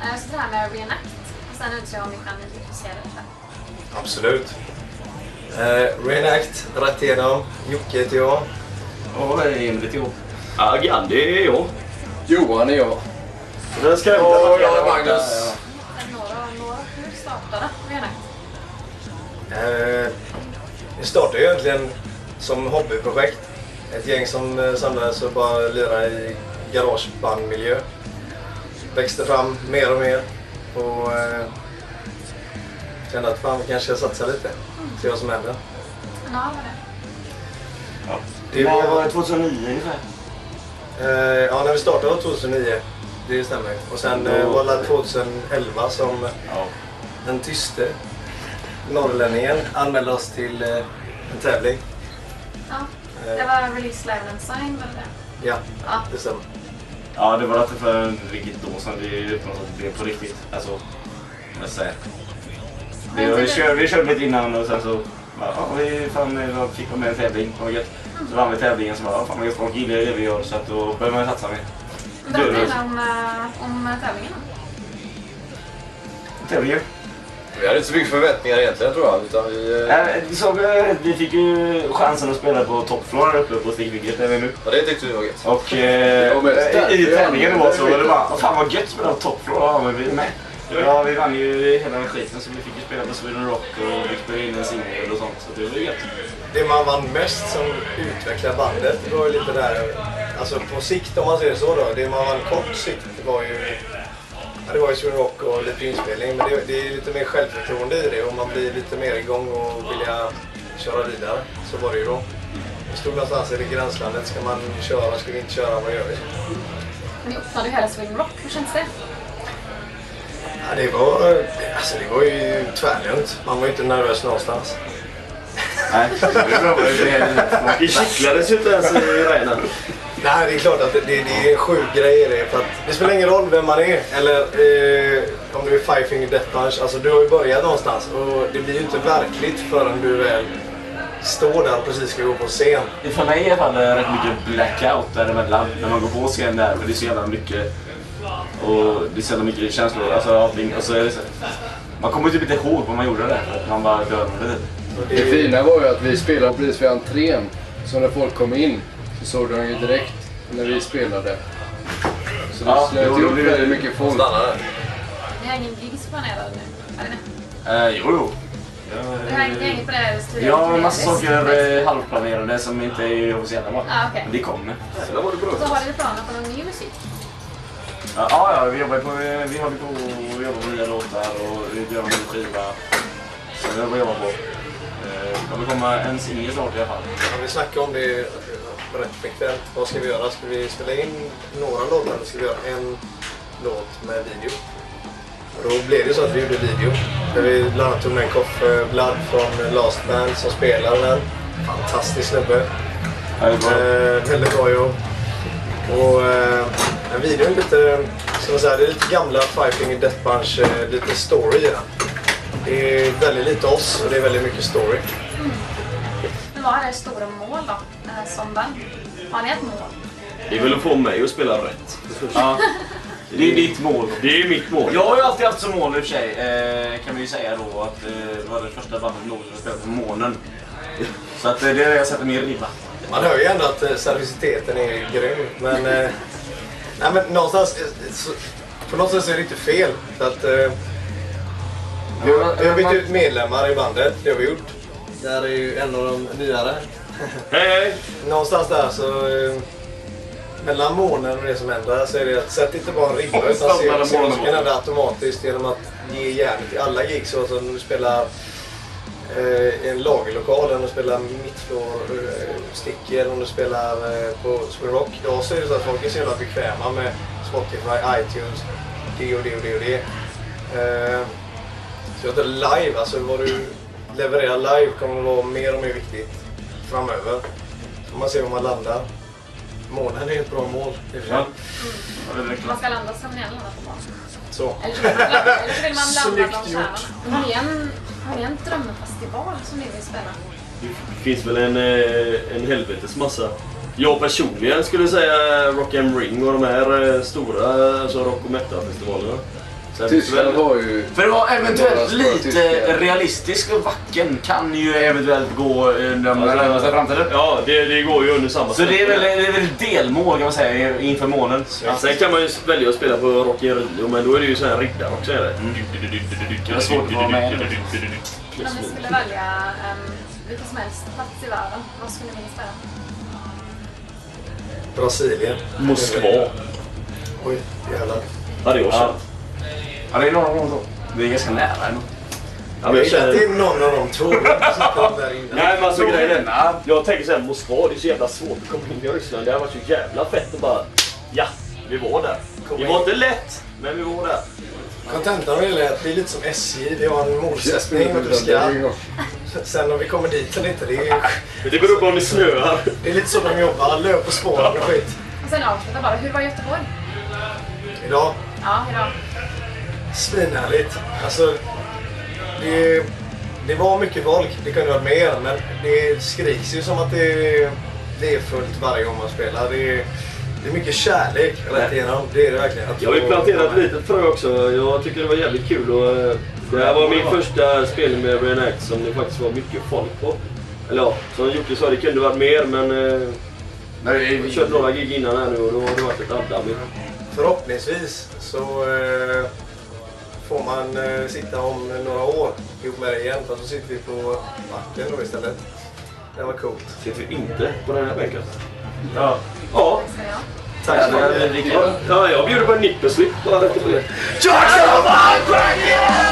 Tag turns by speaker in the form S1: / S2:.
S1: Eh, Så det här med reenact. Och sen undrar jag om ifall ni är intresserade av det.
S2: Absolut.
S3: Eh, Reenact, rätt igenom. Jocke heter jag.
S4: Ja, Emil heter jag.
S5: Ja, Gandhi är jag.
S4: Johan är jag.
S2: Den ska jag
S3: Och jag är
S4: Magnus.
S1: Men Några, några, hur startade reenact?
S3: Eh, vi startade ju egentligen som hobbyprojekt. Ett gäng som eh, samlades och bara lirade i garagebandmiljö. Växte fram mer och mer och eh, kände att fan, vi kanske satsar lite. Se vad som händer.
S1: Ja, vad det?
S3: Det
S4: När var
S3: var,
S4: det? 2009 ungefär?
S3: eh, ja, när vi startade var 2009. Det stämmer. Och sen eh, var det 2011 som
S4: Ja.
S3: den tyste norrlänningen anmälde oss till eh, en tävling.
S1: Ja.
S3: Eh.
S1: Det var Release Live and Sign, var det det?
S3: Ja,
S1: Ja.
S3: det stämmer.
S5: Ja, det var inte för riktigt då som det på något sätt blev på riktigt. Alltså, vad ska jag
S1: Men
S5: säga. Vi, vi,
S1: typ-
S5: körde, vi körde lite innan och sen så bara, ja, vi fan, eh, fick vara med i en tävling. Vad gött. Så vann vi tävlingen så bara, ja, fan vad gött, folk gillar ju det vi gör så att då började man satsa mer.
S1: Berätta
S5: Du-
S1: lite om, eh, om tävlingen.
S5: Tävlingen.
S2: Vi hade inte så mycket förväntningar egentligen tror jag. Utan vi, eh,
S5: Äh, vi, såg, eh, vi fick ju chansen att spela på toppfloor här uppe på Stigvigget där vi är nu.
S2: ja, det tyckte vi var gött.
S5: Och eh,
S2: Det var mest där.
S5: i- i
S2: Det var
S5: tävlingen
S2: mest
S5: det var
S2: där.
S5: så var det bara, "Åh, fan vad gött att spela på toppfloor, ja men vi är med. Ja, vi vann ju hela skiten så vi fick ju spela på Sweden Rock och vi spelade in en singel och sånt så det var ju gött.
S3: Det man vann mest som utvecklar bandet det var ju lite där, alltså på sikt om man ser det så då, det man vann kort sikt var ju, ja det var ju Sweden Rock och lite inspelning men det, det är lite mer självförtroende i det och man blir lite mer igång och vilja köra vidare. Så var det ju då. Det stod någonstans i det gränslandet, ska man köra, ska vi inte köra, vad gör vi?
S1: Ni uppnådde ju hela Swing Rock, hur känns det?
S3: Ja, det var, alltså det var ju tvärlugnt. Man var ju inte nervös någonstans.
S5: Nej, vi kittlades ju inte ens i regnen.
S3: Nej, det är klart att det, det, det är en sjuk grej i det. För att det spelar ingen roll vem man är. Eller eh, om du är Five Finger Death Punch. Alltså du har ju börjat någonstans. Och det blir ju inte verkligt förrän du väl står där och precis ska gå på scen.
S5: För mig i alla fall är det rätt mycket blackout däremellan när man går på scen där för det är så jävla mycket och det är så jävla mycket känslor. Alltså, allting, och så är det så, man kommer typ inte ihåg vad man gjorde där för att man bara glömde det.
S3: Och
S6: Det fina var ju att vi spelade precis vid entrén. Så när folk kom in så såg de ju direkt när vi spelade. Så det
S5: Ja,
S6: slöt
S5: jo, det
S6: ihop
S5: blir-
S6: väldigt mycket folk.
S2: Stannade.
S1: Ni har ingen gigs planerad nu? Eller?
S5: Eh, jo, jo.
S1: Det här är inget på det här studion?
S5: Jag Eh, har en massa saker eh, halvplanerade som inte är officiella bara.
S1: Ah, okej.
S5: Men Det kommer.
S2: Där var det bra.
S1: Så har ni planer på någon ny musik?
S5: Ja, ja, vi jobbar på, vi håller på och jobbar med nya låtar och vi gör en ny skiva. Så det är vad jag jobbar på. Eh, Det kommer komma en singel snart i alla fall.
S3: Ja, vi snackade om det rätt frekvent. Vad ska vi göra? Ska vi spela in några låtar eller ska vi göra en låt med video? Och då blev det så att vi gjorde video. Där vi bland annat tog med en Koffe Blood från Last Band som spelar den. Fantastisk snubbe.
S5: Ja, det är bra.
S3: Eh, väldigt bra jobb. Och eh, den videon är lite, ska man säga, det är lite gamla Five Finger Death Punch, eh, lite story i den. Det är väldigt lite oss och det är väldigt mycket story.
S1: Men vad är det stora mål då, eh, som band? Har ni ett mål?
S7: Det är väl att få mig att spela rätt.
S5: Ja. Det är ditt mål.
S7: Det är mitt mål.
S5: Jag har ju alltid haft som mål i och för sig, eh, kan vi ju säga då, att eh, det var det första bandet i Norden som spelade på månen. Så att, eh, det är det jag sätter min ribba.
S3: Man hör ju ändå att eh, seriositeten är grym. Men, eh, nej, men någonstans, eh, så, på något sätt så är det inte fel. För att, eh, vi, har, vi har bytt ut medlemmar i bandet, det har vi gjort. Där är ju en av de nyare.
S7: Hej, hej!
S3: Någonstans där så... Eh, mellan månen och det som händer så är det att sätt inte bara en ribba utan se vad som kan hända automatiskt genom att ge järnet i alla gig. Så som du spelar eh, i en lagerlokal, eller om du spelar mittflår, eh, sticky eller om du spelar eh, på Sweden Rock. Idag så är det så att folk är så jävla bekväma med Spotify, iTunes, det och det och det och det. Eh, så jag tror att live, alltså vad du levererar live kommer att vara mer och mer viktigt framöver. Får man se var man landar. Månen är ett bra mål i och för sig.
S5: Ja. Ja, det är klart.
S1: Man ska landa som ni landar på mål.
S3: Så.
S1: Eller så vill man landa, eller så vill man landa
S3: Snyggt
S1: någonstans. Har ni en, har ni en drömfestival som ni vill spela?
S7: Det finns väl en, eh, en helvetes massa. Jag Eh, personligen skulle säga Rock am Ring och de här eh, stora alltså rock och metal-festivalerna. Så här,
S6: Tyskland har ju...
S5: För att vara
S6: Några
S5: eventuellt
S6: stora tyskar.
S5: lite realistisk och vacken kan ju eventuellt gå eh, den närmaste framtiden.
S7: Ja, det, det går ju under samma
S5: Så det är väl,
S7: ställe.
S5: det är väl ett delmål kan man säga inför månen.
S7: Ja. Sen kan man ju välja att spela på Rock in Rio, men då är det ju så här riddare också. Är det?
S5: Det är svårt att vara med.
S1: Om ni skulle välja um, vilken som helst plats i världen, vad skulle ni vilja spela?
S3: Brasilien.
S7: Moskva
S3: Oj, jävlar.
S7: hade jag
S5: Ja.
S7: känt.
S5: Ja, det är några gånger så. Det är ganska nära ändå.
S7: Ja, men
S3: Jag
S7: jag
S3: gillar att det är
S7: känner...
S3: någon av de två som sitter där inne.
S7: Nej men alltså grejen är,
S5: Nej.
S7: jag tänker såhär Moskva, det är så jävla svårt att komma in i Ryssland. Det hade varit så jävla fett att bara, ja, vi var där. Det var inte lätt, men vi var där.
S3: Kontentan av det hela är att vi är lite som SJ. Vi har en målsättning och du ska.
S6: Jasmin
S3: Sen om vi kommer dit eller inte, det är,
S7: Men det beror på om det snöar.
S3: det är lite så de jobbar. Alla löper på spåren och skit.
S1: Och sen avsluta bara, hur var Göteborg?
S3: Idag,
S1: Ja, idag.
S3: svinhärligt. Alltså, det, det var mycket folk. Det kunde varit mer, men det skriks ju som att det, det är fullt varje gång man spelar. Det, det är mycket kärlek rätt igenom. Det är det verkligen. Att
S7: Jag har ju
S3: få-
S7: planterat ett litet frö också. Jag tycker det var jävligt kul. Och, eh, det här var min första spelning med Brian Act som det faktiskt var mycket folk på. Eller ja, som Jocke sa, det kunde varit mer men... Eh, jag har kört några gig innan här nu och då har det varit ett addammigt.
S3: Förhoppningsvis så eh, får man eh, sitta om några år ihop med dig igen. Fast då sitter vi på backen då istället. Det var coolt.
S7: Sitter vi inte på den här bänken?
S5: Ja.
S7: Ja,
S1: Tack ska ni ha.
S3: Tack så mycket.
S7: ja jag bjuder på en nippelslipp bara rätt upp och ner.
S5: George of my